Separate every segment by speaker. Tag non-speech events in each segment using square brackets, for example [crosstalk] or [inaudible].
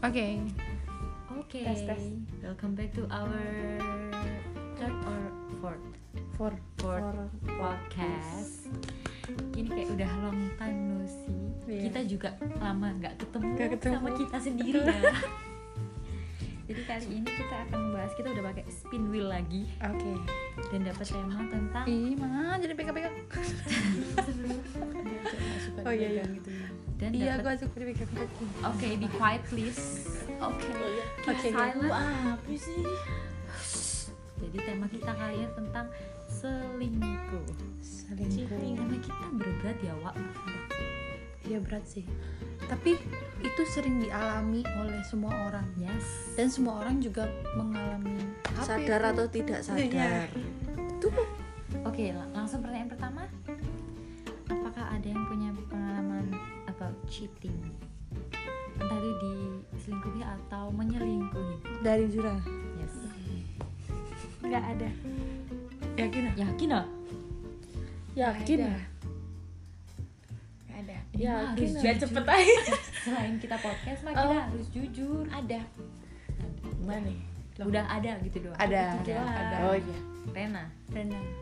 Speaker 1: Okay.
Speaker 2: Okay.
Speaker 1: Tes, tes.
Speaker 2: Welcome back to our third or fourth
Speaker 1: For
Speaker 2: Fourth. podcast. Ini kayak udah long time no see.
Speaker 1: Iya.
Speaker 2: Kita juga lama nggak ketemu,
Speaker 1: Nggak ketemu.
Speaker 2: sama kita sendiri ya. [laughs] Jadi kali ini kita akan membahas kita udah pakai spin wheel lagi
Speaker 1: Oke.
Speaker 2: dan dapat tema tentang
Speaker 1: Ih, mana jadi
Speaker 3: [laughs]
Speaker 1: pegang-pegang. Oh iya iya.
Speaker 2: dan dapat
Speaker 1: Iya, gua suka dipegang-pegang.
Speaker 2: Oke, be quiet please. Oke.
Speaker 1: Oke. iya.
Speaker 2: Keep silent.
Speaker 3: apa sih?
Speaker 2: Jadi tema kita kali ini tentang selingkuh.
Speaker 1: Selingkuh.
Speaker 2: Tema kita berat ya, Wak.
Speaker 1: Iya berat sih. Tapi itu sering dialami oleh semua orang
Speaker 2: Yes.
Speaker 1: dan semua orang juga mengalami apa itu?
Speaker 3: Sadar
Speaker 1: Iya,
Speaker 3: atau tidak sadar?
Speaker 2: Oke, la- langsung pertanyaan pertama. Apakah ada yang punya pengalaman about cheating? Entah itu diselingkuhi atau menyelingkuhi.
Speaker 1: dari jurang
Speaker 2: Yes.
Speaker 4: nggak ada
Speaker 1: yakin ah?
Speaker 2: Yakin ah?
Speaker 3: Yakin?
Speaker 1: Nggak
Speaker 4: nggak ada
Speaker 2: Ya, Yakin
Speaker 3: Yakin?
Speaker 2: lah.
Speaker 3: Biar cepet aja.
Speaker 2: [laughs] Selain kita podcast, mah
Speaker 4: Oh.
Speaker 2: kita harus jujur.
Speaker 4: ada
Speaker 3: Mana?
Speaker 2: Udah ada gitu doang.
Speaker 1: ada
Speaker 2: Gitu doang.
Speaker 1: ada
Speaker 3: Oh iya.
Speaker 2: Rena.
Speaker 1: Renang. iya.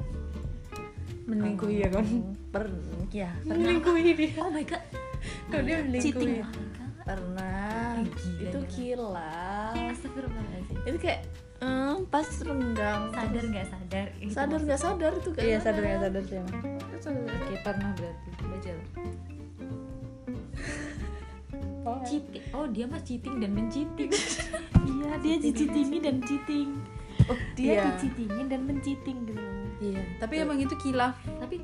Speaker 3: Melingkuhi ya kan? Pernah.
Speaker 2: Ya,
Speaker 3: Melingkuhi dia.
Speaker 2: Oh my god.
Speaker 1: Kok dia
Speaker 2: Cheating. Oh
Speaker 1: melingkuhi?
Speaker 2: my god.
Speaker 3: Pernah.
Speaker 2: Eh, gila,
Speaker 3: Itu
Speaker 2: gila.
Speaker 3: kilat.
Speaker 2: Astagfirullahaladzim.
Speaker 3: Itu kayak eh, pas rendang.
Speaker 2: Sadar nggak sadar? Itu
Speaker 3: Sadar nggak sadar itu kan?
Speaker 1: Iya sadar nggak sadar sih emang.
Speaker 2: maksudnya. Oke, pernah berarti. Baca.
Speaker 1: Iya,
Speaker 2: Cheating. Oh, dia mah cheating dan [laughs] mencheating.
Speaker 4: iya dia dicitingi dan cheating
Speaker 3: Oh,
Speaker 4: dia
Speaker 3: iya.
Speaker 4: dicitingi dan mencheating gitu
Speaker 1: Iya. Tapi emang itu kilaf.
Speaker 2: Tapi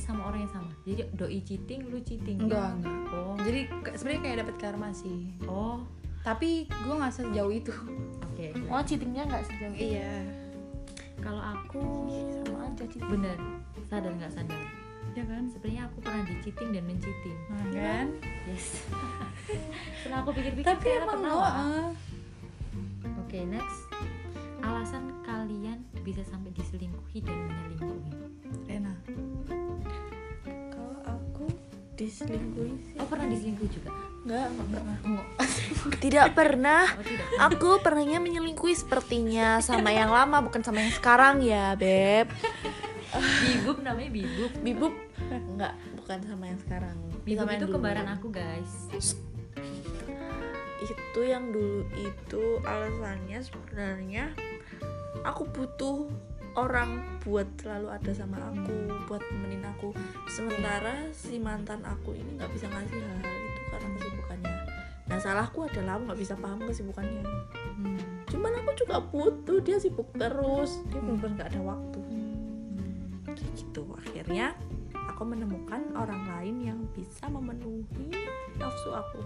Speaker 2: sama orang yang sama. Jadi doi cheating, lu cheating.
Speaker 1: Enggak enggak.
Speaker 2: Oh.
Speaker 1: Jadi ke- sebenarnya kayak dapat karma sih.
Speaker 2: Oh.
Speaker 1: Tapi gue nggak sejauh [laughs] itu.
Speaker 2: Oke.
Speaker 4: oh cheatingnya nggak sejauh itu
Speaker 1: Iya.
Speaker 2: Kalau aku
Speaker 4: sama aja cheating
Speaker 2: bener sadar nggak sadar.
Speaker 1: Ya kan?
Speaker 2: Sebenarnya aku pernah di cheating dan mencheating.
Speaker 1: Nah, kan?
Speaker 2: Yes. [laughs] Setelah aku pikir-pikir
Speaker 1: Tapi
Speaker 2: kayaknya
Speaker 1: emang
Speaker 2: pernah
Speaker 1: lo
Speaker 2: lah.
Speaker 1: ah,
Speaker 2: Oke, next. Alasan kalian bisa sampai diselingkuhi dan menyelingkuhi.
Speaker 1: Rena.
Speaker 3: Kalau aku diselingkuhi sih.
Speaker 2: Oh, pernah diselingkuhi juga?
Speaker 3: Enggak, enggak.
Speaker 2: Enggak.
Speaker 3: [laughs] Tidak pernah.
Speaker 2: Oh,
Speaker 3: [laughs]
Speaker 2: tidak.
Speaker 3: Aku pernahnya menyelingkuhi sepertinya sama yang lama bukan sama yang sekarang ya, Beb.
Speaker 2: Bigup namanya Bigup.
Speaker 3: Bibup enggak, bukan sama yang sekarang.
Speaker 2: Bigup
Speaker 3: Sama yang
Speaker 2: itu
Speaker 3: dulu.
Speaker 2: kembaran aku,
Speaker 3: [laughs]
Speaker 2: guys.
Speaker 3: Itu yang dulu itu alasannya sebenarnya aku butuh orang buat selalu ada sama aku, buat nemenin aku. Sementara si mantan aku ini nggak bisa ngasih hal itu karena kesibukannya. Nah, salahku adalah aku nggak bisa paham kesibukannya.
Speaker 1: Hmm.
Speaker 3: Cuman aku juga butuh dia sibuk terus, dia bener nggak ada waktu. Kayak gitu akhirnya aku menemukan orang lain yang bisa memenuhi nafsu aku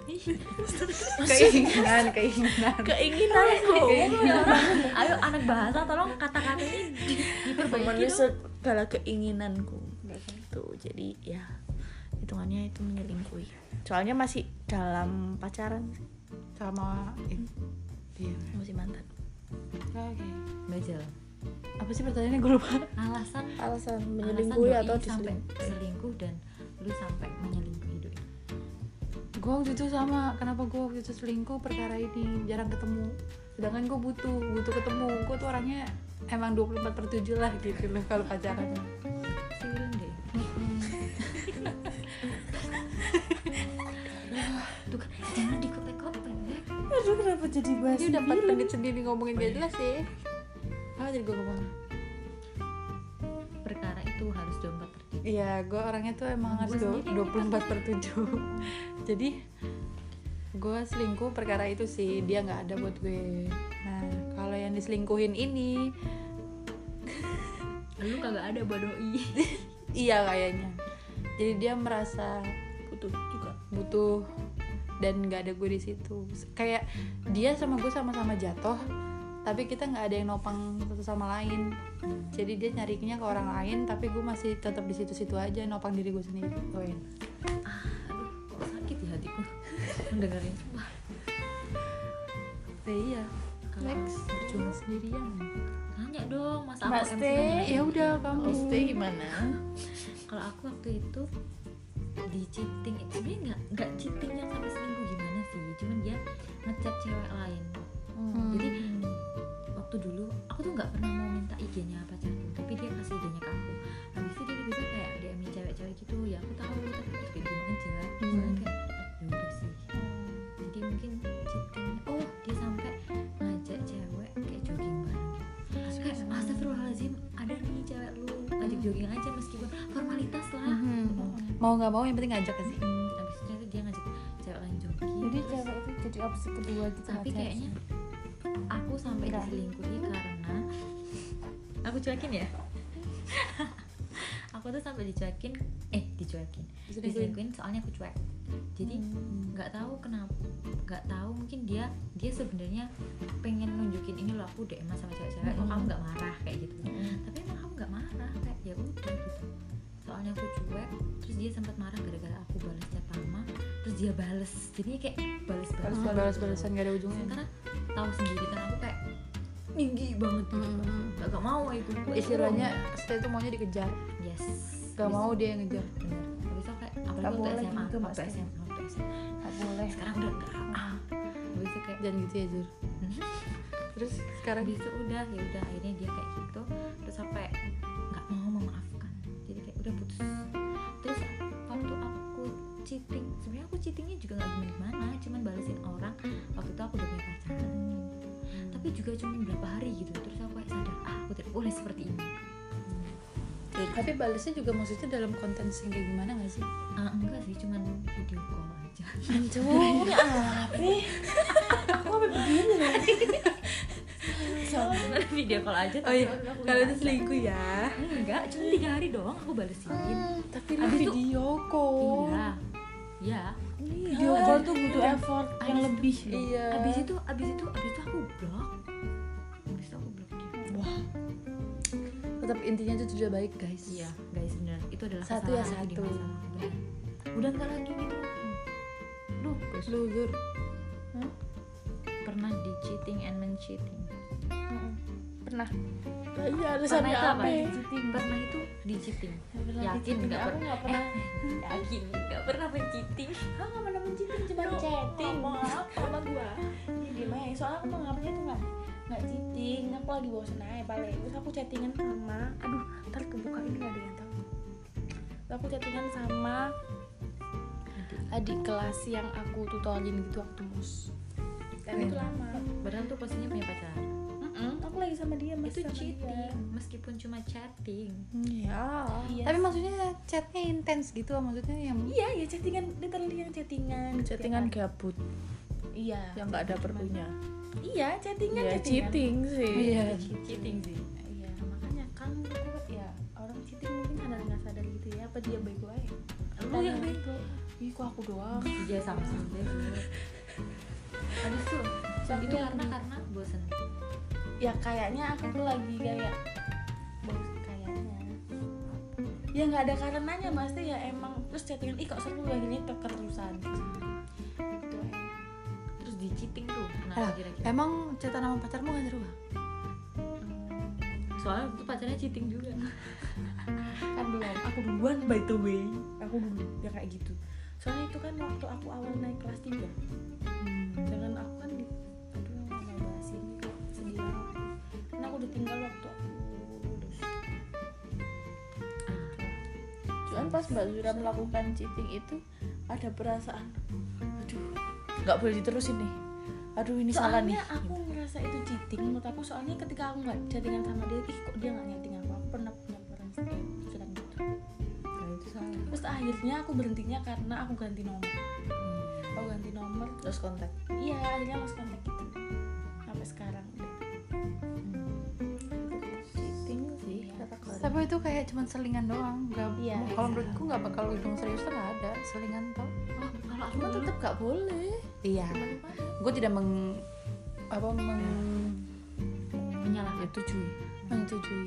Speaker 1: [laughs] Keinginan, keinginan.
Speaker 3: keinginanku
Speaker 2: Iya. Ayo anak bahasa tolong kata-kata ini diperbaiki
Speaker 3: memenuhi
Speaker 2: dong.
Speaker 3: segala keinginanku gitu jadi ya hitungannya itu menyelingkuhi soalnya masih dalam pacaran sih,
Speaker 1: Sama eh, Iya.
Speaker 3: masih mantan
Speaker 1: Oke.
Speaker 2: Mbak Jel,
Speaker 1: Apa sih pertanyaannya gue lupa?
Speaker 2: Alasan
Speaker 3: alasan
Speaker 2: menyelingkuhi
Speaker 3: menyelingkuhi
Speaker 2: alasan
Speaker 3: atau
Speaker 2: doi sampai
Speaker 3: diselingkuhi
Speaker 2: selingkuh dan lu sampai menyelingkuhi doi.
Speaker 1: Gue waktu itu sama. Kenapa gue waktu itu selingkuh perkara ini jarang ketemu. Sedangkan gue butuh, butuh ketemu. Gue tuh orangnya emang 24 per 7 lah gitu loh kalau pacaran.
Speaker 2: Siwilin deh. Tuh kan, jangan dikopek-kopek.
Speaker 4: aduh kenapa jadi bahas
Speaker 1: Ini udah 4 menit sendiri ngomongin gak jelas sih. Apa jadi gue ngomong?
Speaker 2: Perkara itu harus dompet tertib.
Speaker 1: Iya, gue orangnya tuh emang harus
Speaker 2: Gua
Speaker 1: dua-
Speaker 2: sendiri
Speaker 1: 24 per 7 [laughs] Jadi gue selingkuh perkara itu sih dia nggak ada buat gue. Nah, kalau yang diselingkuhin ini,
Speaker 2: Lu kagak ada buat doi.
Speaker 1: iya kayaknya. Jadi dia merasa
Speaker 3: butuh juga
Speaker 1: butuh dan nggak ada gue di situ. Kayak dia sama gue sama-sama jatuh, tapi kita nggak ada yang nopang satu sama lain. Jadi dia nyarinya ke orang lain, tapi gue masih tetap di situ-situ aja nopang diri gue sendiri. Oh, iya. Tuin.
Speaker 2: aduh kok sakit di hatiku mendengarin sumpah
Speaker 1: Eh, iya,
Speaker 2: Kalau
Speaker 1: Next. berjuang sendirian.
Speaker 2: tanya dong mas
Speaker 4: Mbak
Speaker 2: Apple
Speaker 4: Ste,
Speaker 2: MC-nya.
Speaker 1: ya udah kamu
Speaker 3: Stay gimana
Speaker 2: kalau aku waktu itu di cheating sebenarnya nggak nggak cheating yang sampai selingkuh gimana sih cuman dia nge ngechat cewek lain
Speaker 1: Hmm.
Speaker 2: jadi waktu dulu aku tuh nggak pernah mau minta IG-nya pacarku tapi dia kasih IG-nya ke aku habis itu dia tiba-tiba kayak DM cewek-cewek gitu ya aku tahu tapi terus kayak gimana aja soalnya
Speaker 1: Hmm.
Speaker 2: kayak ya udah sih jadi mungkin cheatingnya oh dia sampai ngajak cewek kayak jogging bareng gitu. kayak
Speaker 1: Hmm.
Speaker 2: astagfirullahaladzim ada nih cewek lu ngajak jogging aja meskipun formalitas lah
Speaker 1: Mhm. mau nggak mau yang penting ngajak ke sih
Speaker 2: Hmm, habis itu dia ngajak cewek lain jogging
Speaker 4: Jadi
Speaker 2: terus-
Speaker 4: cewek itu jadi opsi kedua gitu
Speaker 2: tapi
Speaker 4: aja.
Speaker 2: kayaknya aku sampai
Speaker 4: Enggak.
Speaker 2: diselingkuhi karena [laughs] aku cuekin ya [laughs] aku tuh sampai dicuekin eh dicuekin
Speaker 1: Diselingkuhin.
Speaker 2: diselingkuhin Hmm. soalnya aku cuek jadi nggak tahu kenapa nggak tahu mungkin dia dia sebenarnya pengen nunjukin ini loh aku DM sama cewek-cewek kok kamu nggak marah kayak gitu tapi emang aku nggak marah kayak ya udah gitu soalnya aku cuek terus dia sempat marah gara-gara aku balas chat lama terus dia bales jadinya kayak balas balas
Speaker 1: balas-balasan gak ada ujungnya
Speaker 2: sementara tahu sendiri kan aku kayak tinggi banget
Speaker 4: Hmm,
Speaker 2: gitu
Speaker 1: Mhm.
Speaker 2: gak, gak mau aku Gua
Speaker 1: istilahnya setelah itu maunya dikejar
Speaker 2: yes
Speaker 1: gak mau dia yang ngejar
Speaker 2: bener habis itu kayak
Speaker 4: Gak
Speaker 2: apalagi waktu
Speaker 4: boleh
Speaker 2: SMA
Speaker 4: gitu,
Speaker 2: waktu
Speaker 4: Mas.
Speaker 2: SMA waktu SMA
Speaker 4: nggak boleh.
Speaker 2: sekarang udah enggak ah habis itu kayak hmm?
Speaker 1: jangan gitu ya Jur terus sekarang
Speaker 2: habis itu udah ya udah akhirnya dia kayak gitu terus sampai nggak mau memaafkan jadi kayak udah putus terus waktu aku cheating sebenarnya aku cheatingnya juga nggak gimana gimana cuman balesin orang waktu itu aku udah punya pacaran tapi juga cuma beberapa hari gitu terus aku kayak sadar ah aku tidak boleh seperti ini
Speaker 1: tapi balasnya juga maksudnya dalam konten yang kayak gimana gak sih
Speaker 2: Ah, enggak sih cuman video call aja
Speaker 1: [laughs] Iya.
Speaker 4: Aku apa begini loh?
Speaker 2: Cuman [laughs] video call aja
Speaker 1: oh iya
Speaker 2: tapi aku
Speaker 1: kalau itu
Speaker 2: ngerasa-
Speaker 1: selingkuh
Speaker 2: Iya.
Speaker 1: ya
Speaker 2: enggak cuma tiga hari doang aku balesin
Speaker 1: tapi
Speaker 2: lu
Speaker 1: video call
Speaker 2: iya iya
Speaker 4: Video call tuh butuh
Speaker 3: Iya.
Speaker 4: effort yang
Speaker 2: Abis-
Speaker 4: lebih.
Speaker 1: iya
Speaker 2: abis itu abis itu abis itu aku blok abis itu aku blok gitu. dia
Speaker 1: tetap intinya itu tidak baik guys
Speaker 2: iya guys bener itu adalah
Speaker 1: Satu ya
Speaker 2: kesalahan aku di
Speaker 1: satu.
Speaker 2: masa lalu. Bener. udah enggak lagi gitu
Speaker 1: lu lu Jur
Speaker 2: pernah di cheating and men cheating
Speaker 4: Mm-mm. Pernah.
Speaker 3: iya
Speaker 2: pernah
Speaker 3: alasannya
Speaker 2: itu apa
Speaker 3: apa
Speaker 2: ya?
Speaker 3: ya?
Speaker 4: Cheating.
Speaker 2: pernah itu di cheating
Speaker 4: Pernah
Speaker 2: Yakin
Speaker 4: cheating.
Speaker 2: nggak
Speaker 4: Aku
Speaker 2: pernah? Eh.
Speaker 4: nggak pernah.
Speaker 1: Eh.
Speaker 2: yakin nggak pernah men cheating
Speaker 4: Aku nggak pernah mencinting, cuma chatting.
Speaker 3: Ngomong apa sama gua?
Speaker 4: Ini gimana ya? Soalnya aku menganggapnya tuh nggak nggak cheating. Aku lagi bosen aja paling. Terus aku chattingan sama, aduh, ntar kebuka ini nggak ada yang tahu. Terus aku chattingan sama adik kelas yang aku tutorin gitu waktu mus. Dan itu
Speaker 3: Iya.
Speaker 4: lama.
Speaker 2: padahal tuh posisinya punya pacar
Speaker 4: Mm-mm, Aku lagi sama dia
Speaker 2: itu
Speaker 4: masih sama dia.
Speaker 2: cheating meskipun cuma chatting
Speaker 3: Iya.
Speaker 4: Iya.
Speaker 1: tapi maksudnya chatnya intens gitu lah, maksudnya yang
Speaker 4: Iya, ya chattingan literally yang chattingan.
Speaker 3: Chattingan
Speaker 4: Tiap
Speaker 3: gabut
Speaker 4: hari. Iya.
Speaker 3: yang nggak ada perlunya.
Speaker 4: Iya, chattingan
Speaker 3: Ya
Speaker 4: chattingan.
Speaker 3: cheating sih.
Speaker 1: iya
Speaker 2: cheating sih
Speaker 4: Iya, makanya kan menurutku ya orang cheating mungkin sadar nggak sadar gitu ya. Apa dia bego aja?
Speaker 2: lu yang main
Speaker 4: Ih, kok aku doang.
Speaker 2: [laughs] iya sama sama habis itu
Speaker 4: Soalnya-
Speaker 2: itu karena karena bosan
Speaker 4: Ya kayaknya aku tuh lagi kayak bos kayaknya. Ya nggak ada karenanya pasti ya emang terus chattingan ih kok seru lagi gini ter- keterusan. Gitu aja.
Speaker 2: terus di cheating tuh
Speaker 1: Alah,
Speaker 2: kenapa kira-kira
Speaker 1: emang chatan sama pacarmu gak seru ah?
Speaker 2: soalnya itu pacarnya cheating juga
Speaker 4: Hmm, kan belum aku duluan by the way aku dulu ya kayak gitu soalnya itu kan waktu aku awal naik kelas 3
Speaker 2: Hmm.
Speaker 4: jangan aku kan di aduh nggak mau bahas ini kok sedih banget karena aku ditinggal waktu aku lulus
Speaker 3: Cuman pas Mbak Zura melakukan cheating itu ada perasaan aduh, nggak boleh diterusin nih. Aduh, ini salah nih.
Speaker 4: soalnya aku ngerasa itu cheating menurut aku soalnya ketika aku nggak chattingan sama dia ih kok dia nggak chatting aku aku pernah punya perasaan kayak pikiran gitu
Speaker 2: nah, itu salah
Speaker 4: terus akhirnya aku berhentinya karena aku ganti nomor aku ganti nomor terus
Speaker 3: Terus kontak.
Speaker 4: iya akhirnya lost kontak gitu sampai sekarang gitu. udah
Speaker 3: Cheating sih
Speaker 4: Iya.
Speaker 3: kata
Speaker 1: tapi itu kayak cuman selingan doang nggak
Speaker 4: Iya.
Speaker 1: kalau menurutku nggak bakal ujung serius tuh nggak ada selingan tau
Speaker 2: oh, kalau aku
Speaker 3: Cuma
Speaker 2: dulu
Speaker 3: tetap nggak boleh.
Speaker 1: iya gue tidak meng apa meng
Speaker 4: Ya,
Speaker 2: menyalahkan
Speaker 1: menyetujui menyetujui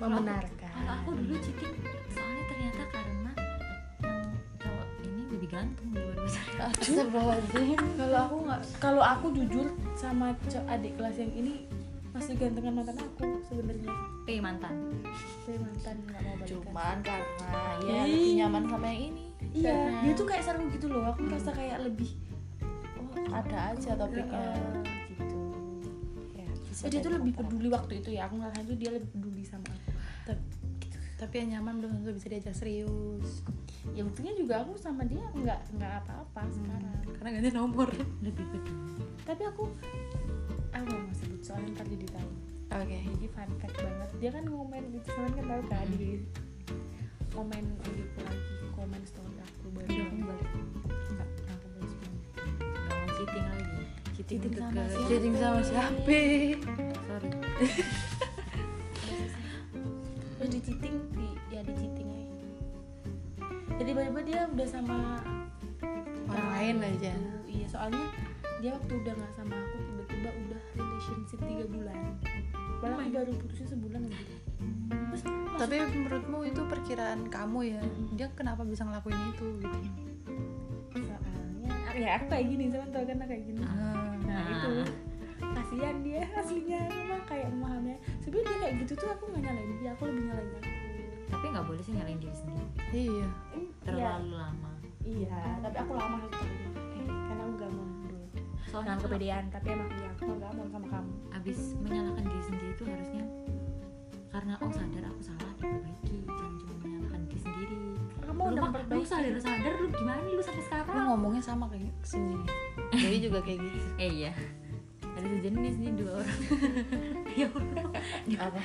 Speaker 2: kalau
Speaker 4: membenarkan
Speaker 2: aku dulu cheating soalnya ternyata karena yang cowok ini lebih ganteng daripada [laughs] pacarnya
Speaker 1: Astagfirullahaladzim
Speaker 4: kalau aku nggak kalau aku jujur sama co- adik kelas yang ini masih gantengan mantan aku sebenarnya
Speaker 2: eh mantan
Speaker 4: tapi mantan nggak mau balikan
Speaker 3: Cuman karena ya
Speaker 4: Ih.
Speaker 3: lebih nyaman sama yang ini.
Speaker 4: iya
Speaker 3: Karena-
Speaker 4: dia tuh kayak seru gitu loh aku merasa kayak lebih oh
Speaker 1: ada aja topiknya
Speaker 4: Heeh.
Speaker 1: gitu ya bisa
Speaker 4: Eh, dia
Speaker 1: jadi
Speaker 4: tuh lebih
Speaker 1: antara-
Speaker 4: peduli waktu itu ya aku ngerasa itu dia lebih peduli sama aku
Speaker 1: tapi yang nyaman belum tentu bisa diajak serius
Speaker 4: ya untungnya juga aku sama dia nggak nggak apa-apa sekarang
Speaker 2: Hmm.
Speaker 1: karena ganti nomor oke
Speaker 2: lebih peduli
Speaker 4: tapi aku aku nggak mau sebut soalnya ntar jadi tahu jadi fun fact banget dia kan ngomen di teman kan tahu kan di komen gitu lagi komen story aku baru
Speaker 1: Iya.
Speaker 2: udah aku balik
Speaker 4: nggak aku baru sebelumnya.
Speaker 2: nggak mau cheating lagi cheating,
Speaker 4: Cheating
Speaker 2: untuk
Speaker 4: sama
Speaker 2: ke-
Speaker 4: siapa?
Speaker 1: dating sama siapa
Speaker 2: sorry
Speaker 4: terus di cheating di ya di cheating aja jadi tiba-tiba dia udah sama
Speaker 1: orang
Speaker 4: Nah,
Speaker 1: lain aja
Speaker 4: Tuh, iya soalnya dia waktu udah nggak sama aku tiba-tiba udah relationship tiga bulan
Speaker 1: Oh
Speaker 4: Padahal aku baru putusnya sebulan gitu
Speaker 1: Hmm.
Speaker 4: Terus
Speaker 1: tapi menurutmu itu perkiraan kamu ya dia kenapa bisa ngelakuin itu gitu
Speaker 4: soalnya ya aku kayak gini sama tau kan aku kayak gini
Speaker 2: Ah.
Speaker 1: nah,
Speaker 4: nah itu kasihan dia aslinya emang kayak memahamnya sebenarnya dia kayak gitu tuh aku nggak nyalain dia aku lebih nyalain aku
Speaker 2: tapi nggak boleh sih nyalain diri sendiri
Speaker 1: iya
Speaker 4: Em, iya,
Speaker 2: terlalu lama
Speaker 4: iya tapi aku lama harus terima Eh, karena aku gampang dulu
Speaker 2: soalnya
Speaker 4: jangan kepedean tapi emang iya aku nggak gampang sama kamu
Speaker 2: abis menyalahkan diri sendiri itu harusnya karena oh sadar aku salah diperbaiki jangan cuma menyalahkan diri sendiri
Speaker 4: kamu
Speaker 2: lu,
Speaker 4: ya? udah
Speaker 2: mah- lu
Speaker 4: memperbaiki
Speaker 2: sadar sadar lu gimana nih lu sampai
Speaker 1: lu
Speaker 2: sekarang
Speaker 1: ngomongnya sama kayak sendiri Dewi juga kayak gitu
Speaker 2: eh iya ada sejenis nih dua orang ya Allah
Speaker 1: apa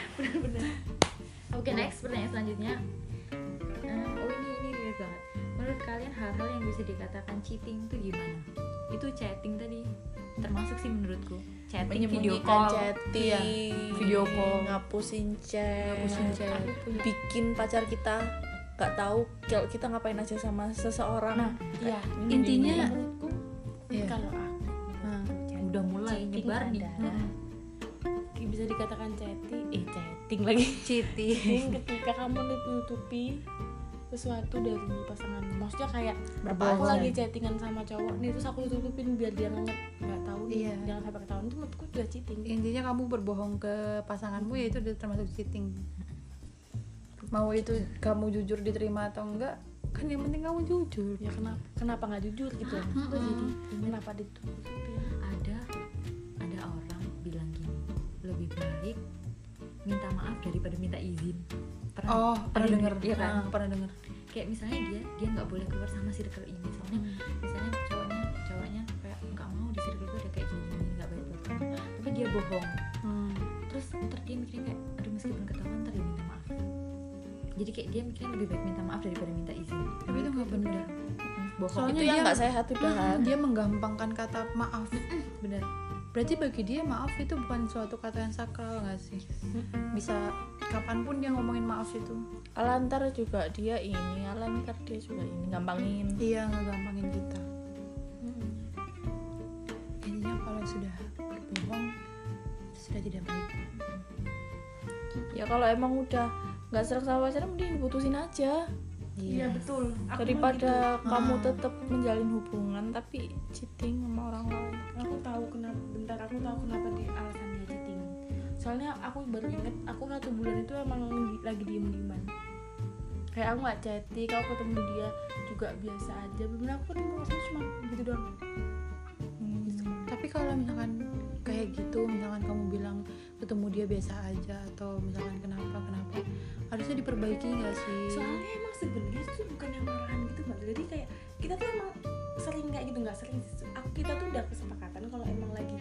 Speaker 2: Oke next pertanyaan selanjutnya. Eh, oh ini ini relate banget. Menurut kalian hal-hal yang bisa dikatakan cheating itu gimana? Itu chatting tadi termasuk sih menurutku. Chatting video
Speaker 3: menyembunyikan
Speaker 2: call.
Speaker 3: chatting
Speaker 1: Iya, video call.
Speaker 3: ngapusin chat
Speaker 1: ngapusin chat
Speaker 4: aku punya
Speaker 3: bikin pacar kita nggak tahu kalau kita ngapain aja sama seseorang
Speaker 1: Nah,
Speaker 4: iya
Speaker 1: intinya
Speaker 4: menurutku
Speaker 1: Iya.
Speaker 4: kalau aku
Speaker 1: Nah.
Speaker 4: chatting
Speaker 2: Udah mulai
Speaker 4: Chatting
Speaker 2: nyebar nih. Nah,
Speaker 4: ada. bisa dikatakan chatting eh chatting lagi
Speaker 1: cheating
Speaker 4: Mungkin ketika kamu menutupi sesuatu dari pasangan maksudnya kayak aku
Speaker 1: Berbohong.
Speaker 4: lagi chattingan sama cowok nih terus aku tutupin biar dia nggak nge- nggak tahu nih
Speaker 1: Iya.
Speaker 4: jangan sampai ketahuan itu menurutku juga cheating
Speaker 1: intinya kamu berbohong ke pasanganmu ya itu udah termasuk cheating mau itu kamu jujur diterima atau enggak kan yang penting kamu jujur
Speaker 4: ya kenapa kenapa nggak jujur gitu ya
Speaker 2: Mm-mm.
Speaker 4: Terus jadi kenapa ditutupin
Speaker 2: Ada ada orang bilang gini lebih baik minta maaf daripada minta izin. Pernah,
Speaker 1: oh pernah
Speaker 2: ada-
Speaker 1: denger
Speaker 2: Iya kan?
Speaker 1: Ah, pernah denger
Speaker 2: Kayak misalnya dia dia nggak boleh keluar sama circle ini soalnya misalnya cowoknya cowoknya kayak nggak mau di circle itu ada kayak gini gini nggak baik buat kamu tapi dia bohong
Speaker 1: Hmm.
Speaker 2: terus ntar dia mikirnya kayak aduh meskipun ketahuan ntar dia minta maaf jadi kayak dia mikirnya lebih baik minta maaf daripada minta izin
Speaker 1: Tapi itu nggak bener.
Speaker 2: Mm, bohong
Speaker 1: Soalnya
Speaker 3: itu yang
Speaker 1: dia-
Speaker 3: nggak sehat udah kan
Speaker 1: dia menggampangkan kata maaf
Speaker 2: bener
Speaker 1: berarti bagi dia maaf itu bukan suatu kata yang sakral nggak sih
Speaker 2: Hmm.
Speaker 1: bisa kapanpun dia ngomongin maaf itu
Speaker 3: alantar juga dia ini alantar dia juga ini gampangin
Speaker 1: iya ngegampangin kita Iya. intinya kalau sudah berbohong sudah tidak baik
Speaker 3: ya kalau emang udah nggak serak sama pacaran mending diputusin aja
Speaker 1: iya
Speaker 4: betul aku gitu. Nah.
Speaker 3: daripada kamu
Speaker 1: Ah.
Speaker 3: tetap menjalin hubungan tapi cheating sama orang lain
Speaker 4: aku tahu kenapa bentar aku tahu kenapa di alasan dia cheating soalnya aku baru inget aku satu bulan itu emang di- lagi diem dieman kayak aku nggak chatting aku ketemu dia juga biasa aja bener aku ketemu rasanya cuma gitu doang
Speaker 1: tapi kalau misalkan kayak gitu misalkan kamu bilang ketemu dia biasa aja atau misalkan kenapa kenapa harusnya diperbaiki nggak sih
Speaker 4: soalnya emang sebenarnya itu bukan yang marahan gitu mbak jadi kayak kita tuh emang sering kayak gitu nggak sering sih. aku kita tuh udah kesepakatan kalau emang lagi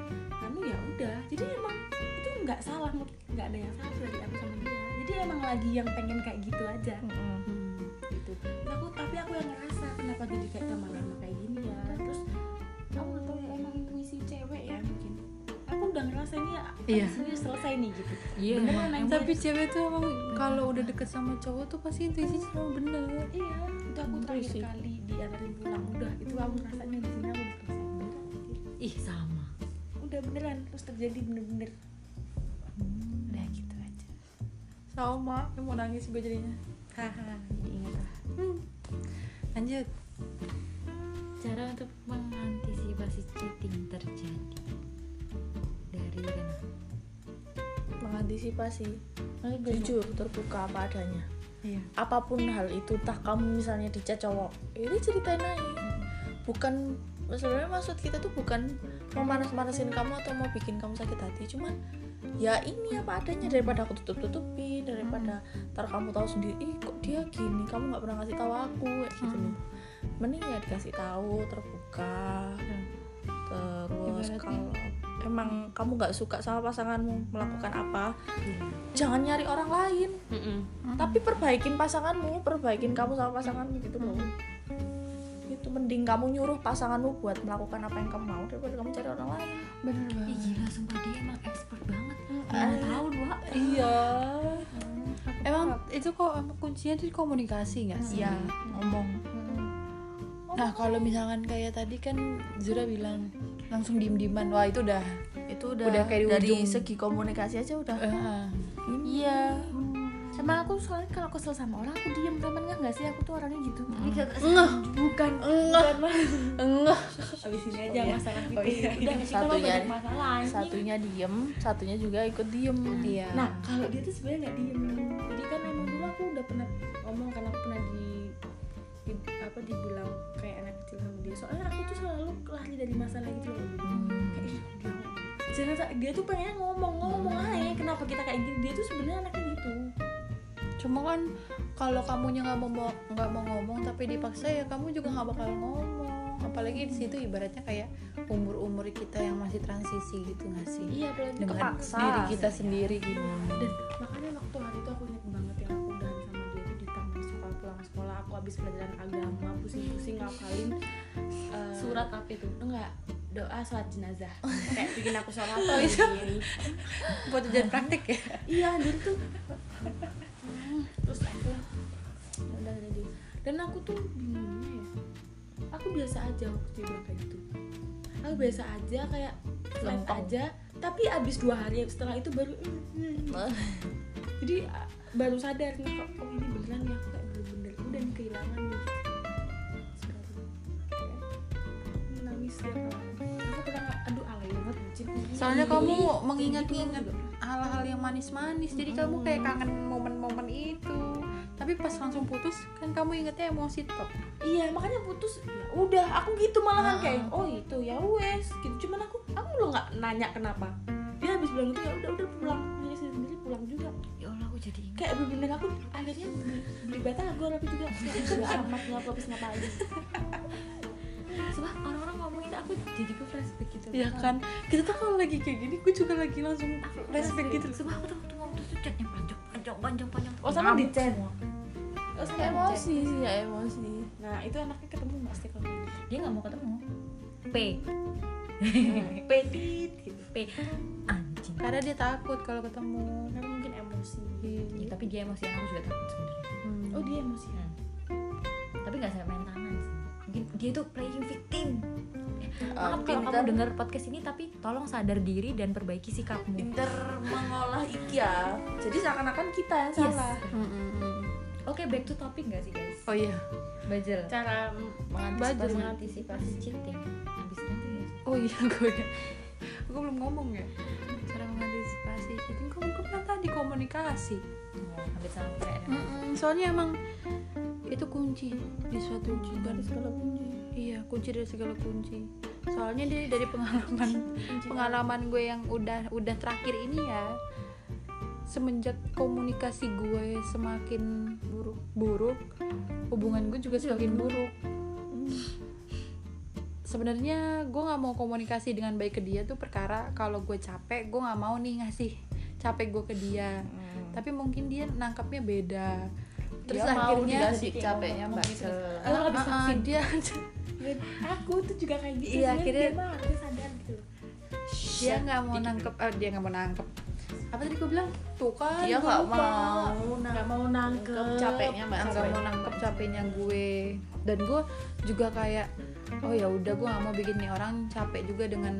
Speaker 4: anu ya udah jadi emang itu nggak salah menurut- nggak ada yang salah dari aku sama dia jadi emang lagi yang pengen kayak gitu aja
Speaker 3: Mm-mm.
Speaker 1: Hmm.
Speaker 4: gitu Terus aku tapi aku yang ngerasa kenapa jadi kayak lama-lama kayak gini ya terus aku nggak tahu ya emang intuisi cewek ya mungkin aku udah ngerasa ini ya
Speaker 1: Iya.
Speaker 4: ini selesai nih gitu
Speaker 2: iya
Speaker 4: Beneran,
Speaker 2: emang-
Speaker 4: emang.
Speaker 1: kan? tapi cewek tuh emang kalau udah deket sama cowok tuh pasti intuisi selalu bener
Speaker 4: iya itu aku terakhir
Speaker 3: Intuisi.
Speaker 4: kali diantarin pulang udah itu aku ngerasanya di sini aku udah selesai
Speaker 2: ih sama
Speaker 4: udah beneran terus terjadi bener-bener
Speaker 1: udah gitu aja sama yang mau nangis gue jadinya haha
Speaker 4: jadi ingat lah
Speaker 1: lanjut
Speaker 2: cara untuk mengantisipasi cheating terjadi dari Rena
Speaker 3: mengantisipasi
Speaker 4: Makanya gue
Speaker 3: jujur terbuka apa adanya
Speaker 1: iya
Speaker 3: apapun hal itu entah kamu misalnya dicat cowok ini ceritain aja bukan sebenarnya maksud kita tuh bukan mau manas-manasin kamu atau mau bikin kamu sakit hati cuman ya ini apa adanya daripada aku tutup-tutupin daripada ntar kamu tahu sendiri ih kok dia gini kamu nggak pernah ngasih tahu aku kayak gitu loh mending ya dikasih tahu terbuka
Speaker 2: Hmm.
Speaker 3: terus
Speaker 1: Ibaratnya-
Speaker 3: kalau emang kamu nggak suka sama pasanganmu melakukan apa jangan nyari orang lain tapi perbaikin pasanganmu perbaikin kamu sama pasanganmu gitu loh itu Gitu, mending kamu nyuruh pasanganmu buat melakukan apa yang kamu mau daripada kamu cari orang lain
Speaker 2: Ih,
Speaker 1: bener
Speaker 2: iya.
Speaker 1: banget
Speaker 2: gila sumpah dia emang expert banget
Speaker 1: Ah.
Speaker 2: Lima tahun wak
Speaker 3: iya
Speaker 1: emang itu kok kuncinya tuh di komunikasi nggak sih
Speaker 3: iya ngomong
Speaker 1: nah kalau misalkan kayak tadi kan Zura bilang langsung diem dieman wah itu udah
Speaker 3: itu udah,
Speaker 1: Udah kayak di
Speaker 3: dari
Speaker 1: ujung.
Speaker 3: segi komunikasi aja udah
Speaker 1: eh,
Speaker 4: Iya. Sama aku soalnya kalau kesel sama orang aku diem temennya nggak sih aku tuh orangnya gitu.
Speaker 3: ngeh
Speaker 4: Bukan.
Speaker 3: ngeh ngeh ya.
Speaker 4: Abis ini aja masalah gitu. Udah nggak sih kalau
Speaker 3: Satunya-
Speaker 4: banyak masalah. anjing.
Speaker 3: satunya diem satunya juga ikut diem
Speaker 1: iya
Speaker 4: Nah kalau dia tuh sebenarnya nggak diem. Jadi kan emang dulu aku udah pernah ngomong karena aku pernah di, di- apa dibilang kayak anak kecil sama dia. Soalnya aku tuh selalu lari dari masalah gitu loh. Kayak, "Ih, dia ngomong." Sedangkan sa- dia tuh pengen ngomong ngomong
Speaker 2: Hmm.
Speaker 4: aja kenapa kita kayak gini dia tuh sebenarnya anaknya gitu
Speaker 1: cuma kan kalau kamunya nggak mau mo- nggak mau ngomong tapi dipaksa ya kamu juga nggak bakal ngomong apalagi di situ ibaratnya kayak umur umur kita yang masih transisi gitu nggak sih
Speaker 4: iya apalagi
Speaker 2: kan.
Speaker 1: dengan
Speaker 3: kepaksa
Speaker 1: diri kita sendiri gimana
Speaker 4: dan makanya waktu hari itu aku inget banget yang aku udahan sama dia itu di taman sekolah pulang sekolah aku habis pelajaran agama pusing-pusing ngapalin eh,
Speaker 2: Surat apa itu? Oh.
Speaker 4: enggak doa sholat jenazah kayak bikin aku
Speaker 2: [laughs]
Speaker 4: sholat
Speaker 2: iya.
Speaker 4: sendiri
Speaker 1: buat ujian praktik ya
Speaker 4: iya anjir tuh Hmm, terus aku ya udah udah, udah. dan aku tuh bingungnya ya aku biasa aja waktu dia bilang kayak gitu aku biasa aja kayak live
Speaker 3: Lempeng.
Speaker 4: aja tapi abis dua hari setelah itu baru "Hmm, hmm, hmm." jadi a- baru sadar nih kok oh ini beneran ya aku kayak bener-bener udah nih kehilangan nih Sekarang, ya. Aku menangis ya aku pernah nggak- aduh alay banget bucin
Speaker 1: soalnya
Speaker 4: Ih,
Speaker 1: kamu
Speaker 4: ih,
Speaker 1: mengingat-ingat
Speaker 4: gitu aku juga.
Speaker 1: hal-hal yang manis-manis jadi kamu kayak kangen momen-momen itu tapi pas langsung putus kan kamu ingetnya emosi top
Speaker 4: iya makanya putus ya udah aku gitu malahan
Speaker 1: Ah.
Speaker 4: kayak oh itu ya wes gitu cuman aku aku lo nggak nanya kenapa dia habis bilang gitu ya udah udah pulang dia sendiri pulang juga
Speaker 2: Ya Allah aku jadi ingat
Speaker 4: kayak bener-bener aku akhirnya beli, beli batagor aku juga udah amat ngapa habis ngapain
Speaker 2: Sebab orang-orang ngomongin aku jadi ke flashback gitu
Speaker 1: ya kan kita tuh kalau lagi kayak gini gue juga lagi langsung flashback gitu
Speaker 2: Sebab aku tuh waktu ngomong tuh chatnya panjang panjang panjang panjang
Speaker 4: oh sama di chat oh sama di chat.
Speaker 3: emosi sih ya emosi
Speaker 4: nah itu anaknya ketemu pasti kalau gitu.
Speaker 2: Dia gak mau ketemu P
Speaker 4: petit gitu
Speaker 2: P Anjing
Speaker 1: karena dia takut kalau ketemu
Speaker 4: karena mungkin emosi
Speaker 3: Hmm.
Speaker 2: Ya, Tapi dia emosian aku juga takut sebenarnya.
Speaker 1: Hmm.
Speaker 4: oh dia emosi
Speaker 2: Hmm. Tapi gak saya main tangan sih Mungkin dia tuh playing victim
Speaker 3: Ah,
Speaker 2: Maaf kalau kamu
Speaker 3: Eh, pinter.
Speaker 2: dengar podcast ini tapi tolong sadar diri dan perbaiki sikapmu.
Speaker 3: pinter mengolah ikhya jadi seakan-akan kita yang
Speaker 2: Yes.
Speaker 3: salah
Speaker 2: Oke, back to topic gak sih guys?
Speaker 1: oh iya
Speaker 2: Bajel.
Speaker 4: cara
Speaker 1: Bajel.
Speaker 2: Mengantisipasi cheating. Habis nanti ya.
Speaker 1: oh iya [laughs] gue gue belum ngomong ya cara mengantisipasi cheating kok gue kan tadi komunikasi
Speaker 2: Oh, Hampir sama kayak ada.
Speaker 1: soalnya emang itu kunci di suatu
Speaker 4: dari
Speaker 1: hubungan
Speaker 4: segala kunci
Speaker 1: iya kunci dari segala kunci soalnya dari dari pengalaman pengalaman gue yang udah udah terakhir ini ya semenjak komunikasi gue semakin buruk buruk hubungan gue juga semakin buruk sebenarnya gue nggak mau komunikasi dengan baik ke dia tuh perkara kalau gue capek gue nggak mau nih ngasih capek gue ke dia tapi mungkin dia nangkapnya beda terus
Speaker 3: Dia mau
Speaker 1: akhirnya
Speaker 3: dikasih capeknya mbak
Speaker 4: gitu.
Speaker 1: Ah,
Speaker 4: Kalau habis
Speaker 1: ah, ah,
Speaker 4: vaksin.
Speaker 1: dia
Speaker 4: Dan aku tuh juga kayak
Speaker 1: Iya,
Speaker 4: gitu sebenarnya
Speaker 1: akhirnya-
Speaker 4: dia mah harusnya sadar gitu loh.
Speaker 1: dia nggak mau nangkep eh, dia nggak mau nangkep apa tadi gue bilang tuh kan
Speaker 3: dia
Speaker 1: gua
Speaker 3: nggak
Speaker 1: lupa.
Speaker 3: mau nah
Speaker 4: nggak mau nangkep
Speaker 3: capeknya mbak
Speaker 1: nggak mau nangkep capeknya gue dan gue juga kayak oh ya udah gue nggak mau bikin nih orang capek juga dengan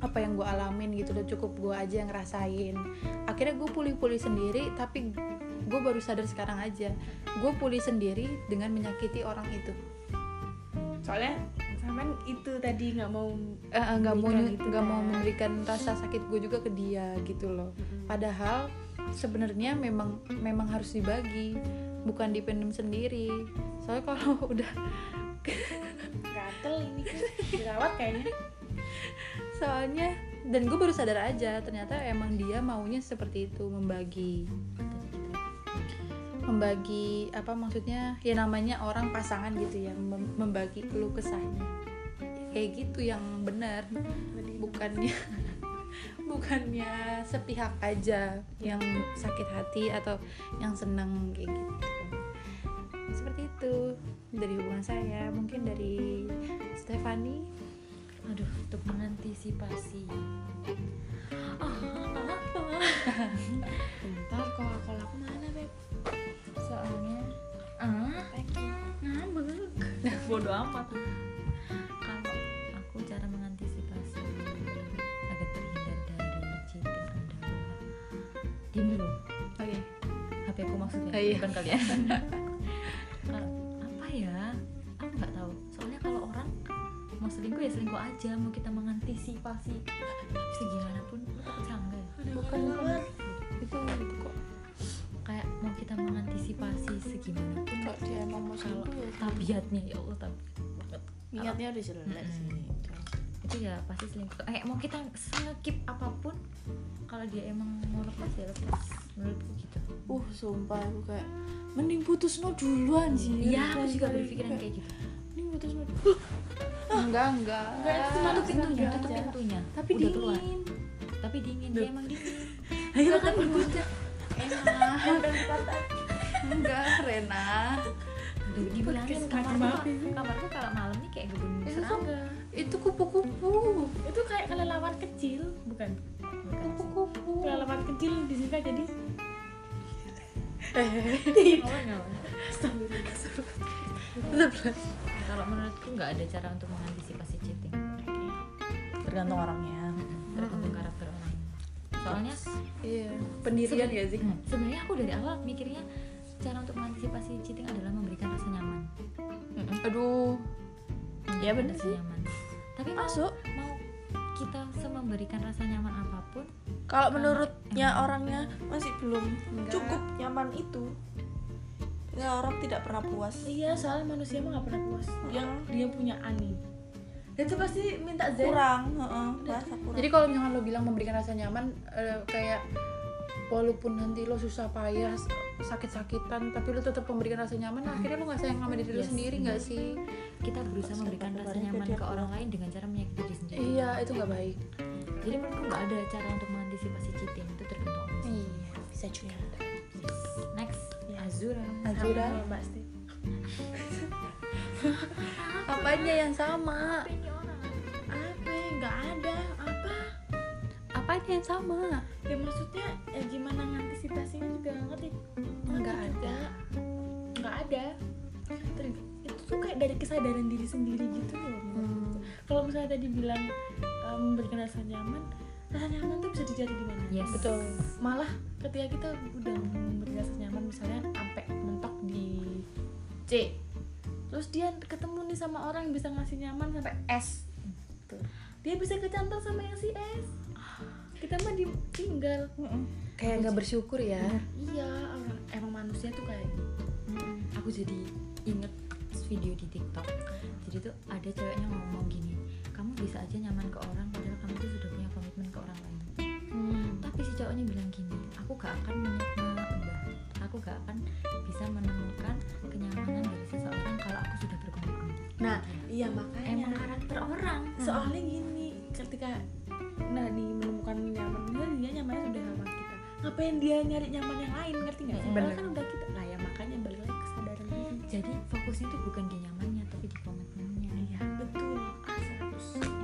Speaker 1: apa yang gue alamin gitu udah cukup gue aja yang ngerasain akhirnya gue pulih-pulih sendiri tapi gue baru sadar sekarang aja gue pulih sendiri dengan menyakiti orang itu
Speaker 4: soalnya sama itu tadi nggak mau
Speaker 1: Eh, eh, nggak mau
Speaker 4: Memberikan gitu
Speaker 1: nggak mau
Speaker 4: kan.
Speaker 1: memberikan rasa sakit gue juga ke dia gitu loh padahal sebenarnya memang memang harus [laughs] dibagi bukan dipendam sendiri soalnya kalau udah
Speaker 4: nggak Bekel ini kan dirawat [laughs] kayaknya.
Speaker 1: soalnya dan gue baru sadar aja ternyata emang dia maunya seperti itu membagi membagi apa maksudnya ya namanya orang pasangan gitu ya mem- membagi keluh kesahnya kayak gitu yang benar bukannya [laughs] bukannya sepihak aja yang sakit hati atau yang seneng kayak gitu seperti itu dari hubungan saya mungkin dari Stefani
Speaker 2: Aduh, untuk mengantisipasi. Ah, apa?
Speaker 4: Ntar kalau kalau aku mana beb?
Speaker 2: Soalnya ah, ngambek. Bodoh amat. Kalau aku cara mengantisipasi agar terhindar dari cheating adalah diam dulu.
Speaker 1: oke
Speaker 2: HP aku maksudnya
Speaker 1: Ah, iya.
Speaker 2: bukan [laughs] kalian Ka- apa ya aku nggak tahu soalnya kalau orang mau selingkuh ya selingkuh aja mau kita mengantisipasi bisa gimana pun lu takut serangga ya?
Speaker 4: Bukan bukan.
Speaker 1: itu itu kok
Speaker 2: gitu kayak mau kita mengantisipasi segimana pun
Speaker 4: Kalau dia emang mau
Speaker 2: kalau
Speaker 4: selingkuh ya.
Speaker 2: tabiatnya ya Allah tabiat banget
Speaker 3: niatnya udah jelek sih
Speaker 2: itu ya pasti selingkuh kayak mau kita skip apapun kalau dia emang mau lepas ya lepas menurutku gitu
Speaker 4: Uh, sumpah aku kayak mending putus no dulu anjir.
Speaker 2: iya aku
Speaker 4: Daripada
Speaker 2: juga
Speaker 4: kayak-
Speaker 2: berpikiran kayak gitu
Speaker 4: Mending putus no dulu.
Speaker 1: enggak enggak
Speaker 4: Enggak, itu cuma
Speaker 2: tutup
Speaker 4: Tutup
Speaker 2: pintunya
Speaker 4: aja.
Speaker 2: tutup pintunya
Speaker 1: tapi
Speaker 2: Udah
Speaker 1: dingin
Speaker 2: keluar. tapi dingin dia emang [laughs] dingin
Speaker 1: ayo
Speaker 2: kan berbunyi
Speaker 1: enak enggak Rena
Speaker 2: dibilangin
Speaker 4: Podcast
Speaker 2: kamarnya
Speaker 4: macam apa
Speaker 2: kamarnya kalau malam nih kayak gebun
Speaker 4: Itu tuh
Speaker 2: serangga
Speaker 1: itu kupu-kupu
Speaker 4: itu kayak kelelawar kecil, bukan?
Speaker 2: Bukan sih.
Speaker 1: kupu-kupu
Speaker 4: Kelelawar kecil disingkat jadi
Speaker 2: Ngawang, ngawang. kalau menurutku nggak ada cara untuk mengantisipasi cheating
Speaker 3: tergantung orangnya
Speaker 2: tergantung karakter orang soalnya
Speaker 1: iya pendirian ya sih
Speaker 2: hmm, sebenarnya aku dari awal mikirnya cara untuk mengantisipasi cheating adalah memberikan rasa nyaman
Speaker 1: aduh
Speaker 3: Ya, bener
Speaker 2: Rasa
Speaker 3: sih.
Speaker 2: nyaman. tapi mau,
Speaker 3: masuk
Speaker 2: mau kita memberikan rasa nyaman apapun
Speaker 3: kalau menurutnya orangnya masih belum
Speaker 1: Enggak.
Speaker 3: cukup nyaman itu nggak orang tidak pernah puas
Speaker 4: Iya, soalnya manusia mah gak pernah puas.
Speaker 3: yang
Speaker 4: Dia punya ani. Dan itu pasti minta zen.
Speaker 3: kurang heeh, merasa kurang
Speaker 1: jadi kalau misalkan lo bilang memberikan rasa nyaman eh, kayak walaupun nanti lo susah payah s- sakit-sakitan tapi lo tetap memberikan rasa nyaman akhirnya lo nggak sayang sama diri lo
Speaker 2: Yes.
Speaker 1: sendiri nggak sih
Speaker 2: kita berusaha
Speaker 3: Terus
Speaker 2: memberikan
Speaker 3: dapat
Speaker 2: rasa
Speaker 3: kabarnya
Speaker 2: nyaman
Speaker 3: dia
Speaker 2: ke orang lain dengan cara menyakiti diri sendiri
Speaker 1: iya itu nggak baik
Speaker 2: jadi menurutku nggak ada cara untuk mengantisipasi cheating itu tergantung orang sendiri.
Speaker 1: iya
Speaker 3: bisa juga
Speaker 2: next Azura
Speaker 1: Azura
Speaker 4: Sama Mbak Steve.
Speaker 1: apanya yang sama
Speaker 4: Apa? Gak ada. Apa?
Speaker 1: apanya yang sama
Speaker 4: Ya maksudnya ya gimana ngantisipasinya juga gak ngerti.
Speaker 1: nggak ada
Speaker 4: Gak ada. Ter- itu tuh kayak dari kesadaran diri sendiri gitu loh.
Speaker 1: Hmm.
Speaker 4: Kalau misalnya tadi bilang eh, memberikan rasa nyaman, rasa nyaman tuh bisa dicari di mana?
Speaker 2: yes
Speaker 1: betul
Speaker 4: malah ketika kita udah memberi rasa nyaman misalnya sampai mentok di C terus dia ketemu nih sama orang yang bisa ngasih nyaman sampai S Tuh. dia bisa kecantol sama yang si S kita mah ditinggal
Speaker 1: kayak nggak bersyukur ya
Speaker 4: iya orang emang manusia tuh kayak gitu.
Speaker 2: aku jadi inget video di TikTok jadi tuh ada ceweknya ngomong gini kamu bisa aja nyaman ke orang padahal kamu tuh sudah punya komitmen ke orang lain
Speaker 4: Hmm.
Speaker 2: tapi si cowoknya bilang gini aku gak akan menyembah aku gak akan bisa menemukan kenyamanan dari seseorang kalau aku sudah berkomitmen
Speaker 4: nah iya makanya
Speaker 2: emang karakter orang
Speaker 4: soalnya gini ketika nah di menemukan nyamannya dia nyamannya sudah sama kita ngapain dia nyari nyaman yang lain ngerti nggak sih
Speaker 1: Bener.
Speaker 4: Padahal kan udah kita lah ya makanya balik lagi kesadaran diri
Speaker 2: jadi fokusnya tuh bukan di nyamannya tapi di komitmennya Gitu
Speaker 4: iya betul ah serius
Speaker 2: kan?